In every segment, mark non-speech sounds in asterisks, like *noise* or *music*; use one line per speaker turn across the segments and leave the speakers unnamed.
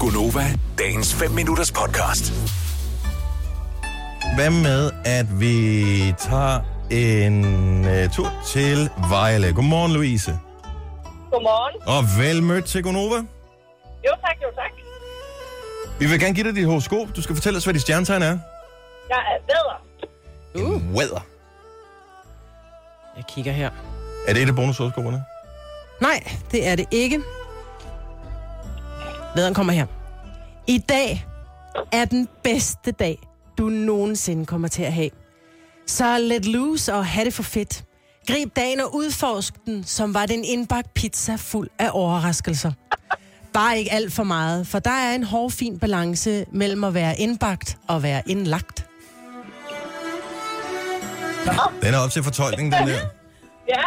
Gunova, dagens 5 minutters podcast.
Hvad med, at vi tager en uh, tur til Vejle? Godmorgen, Louise.
Godmorgen.
Og velmødt til Gonova.
Jo tak, jo tak.
Vi vil gerne give dig dit horoskop. Du skal fortælle os, hvad dit stjernetegn er.
Jeg er bedre.
Uh. Weather.
Jeg kigger her.
Er det et af bonushoroskoperne?
Nej, det er det ikke. Lederen kommer her. I dag er den bedste dag, du nogensinde kommer til at have. Så let loose og have det for fedt. Grib dagen og udforsk den, som var den indbagt pizza fuld af overraskelser. Bare ikke alt for meget, for der er en hård, fin balance mellem at være indbagt og være indlagt.
Den er op til fortolkning, den der.
Ja,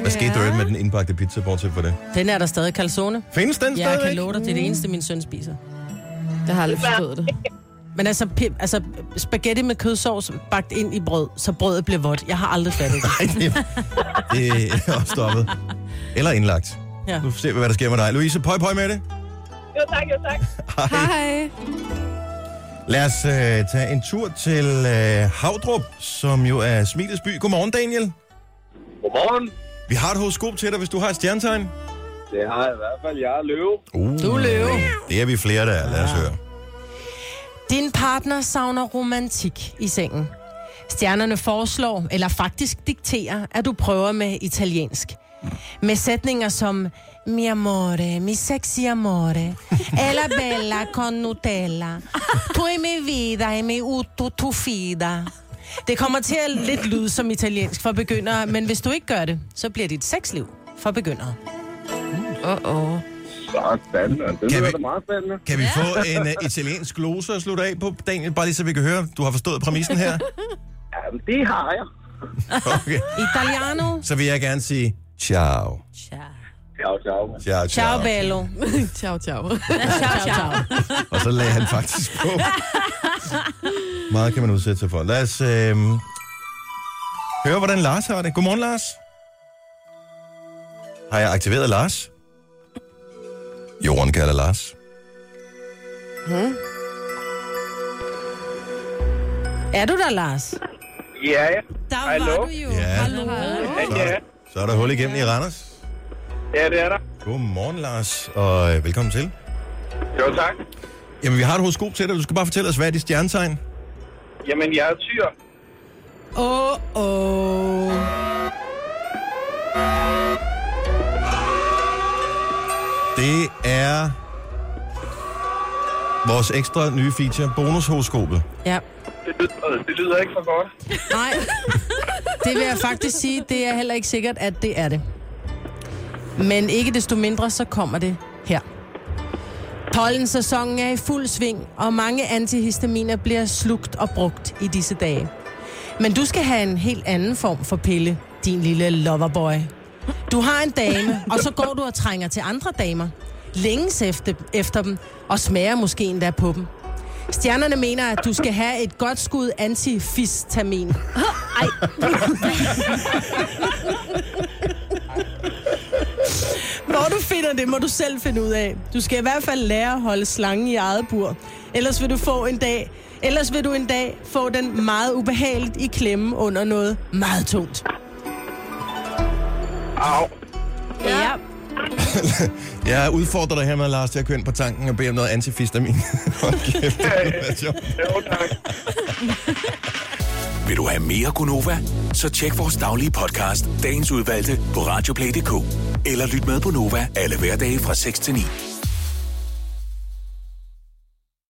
Hvad skete der øvrigt med den indbagte pizza, bortset fra det?
Den er der stadig calzone.
Findes den
Jeg kan
stadigvæk?
love dig, det er det eneste, min søn spiser.
Jeg har aldrig forstået det.
Men altså, pim, altså spaghetti med kødsovs bagt ind i brød, så brødet bliver vådt. Jeg har aldrig fattet det.
Ej, det, det er opstoppet. Eller indlagt.
Ja.
Nu ser vi, hvad der sker med dig. Louise, pøj pøj med det.
jo tak, jo tak.
Hej.
Lad os øh, tage en tur til øh, Havdrup, som jo er Smilets by. Godmorgen, Daniel.
Godmorgen.
Vi har et horoskop til dig, hvis du har et stjernetegn.
Det har jeg i hvert fald. Jeg er løve.
Uh,
Du er løve.
Det er vi flere, der er. Lad os høre.
Din partner savner romantik i sengen. Stjernerne foreslår, eller faktisk dikterer, at du prøver med italiensk. Med sætninger som Mi amore, mi sexy amore, ella bella con Nutella, tu e mi vida e mi utto tu fida. Det kommer til at lidt lyde som italiensk for begyndere, men hvis du ikke gør det, så bliver dit sexliv for begyndere.
Åh, åh.
Sådan. altså. Det
Kan
lyder
vi-
da meget spændende.
Kan vi få en uh, italiensk glose at slutte af på, Daniel? Bare lige så vi kan høre, du har forstået præmissen
*laughs*
her.
Jamen, det har jeg.
Okay.
Italiano,
Så vil jeg gerne sige ciao.
Ciao,
Ciao,
ciao.
ciao.
ciao bello.
*laughs* Ciao, ciao.
Ciao,
*laughs*
ciao.
Og så lagde han faktisk
*laughs*
på. Meget kan man udsætte sig for. Lad os øh, høre, hvordan Lars har det. Godmorgen, Lars. Har jeg aktiveret Lars? Jorden kalder Lars.
Er du der, Lars?
Ja, ja.
Der
Hallo?
var du jo.
Ja.
Hallo.
Så, er der- så er der hul igennem i Randers.
ja, det er der.
Godmorgen, Lars, og øh, velkommen til.
Jo, tak.
Jamen, vi har et horoskop til dig. Du skal bare fortælle os, hvad er dit stjernetegn?
Jamen, jeg er tyr.
Åh, åh.
Det er vores ekstra nye feature, bonushoroskopet.
Ja.
Det lyder, det lyder ikke for godt.
Nej. Det vil jeg faktisk sige, det er heller ikke sikkert, at det er det. Men ikke desto mindre, så kommer det her. Pollensæsonen er i fuld sving, og mange antihistaminer bliver slugt og brugt i disse dage. Men du skal have en helt anden form for pille, din lille loverboy. Du har en dame, og så går du og trænger til andre damer. Længes efter, efter dem, og smager måske endda på dem. Stjernerne mener, at du skal have et godt skud antifistamin. Ej. Hvor du finder det, må du selv finde ud af. Du skal i hvert fald lære at holde slangen i eget bur. Ellers vil du få en dag, ellers vil du en dag få den meget ubehageligt i klemme under noget meget tungt.
Au.
Ja.
Jeg udfordrer dig her med, Lars, til at køre ind på tanken og bede om noget antifistamin. *laughs* Hold kæft, det kunne være sjovt.
Jo, tak.
Vil du have mere Gunova? Så tjek vores daglige podcast, dagens udvalgte, på radioplay.dk. Eller lyt med på Nova alle hverdage fra 6 til 9.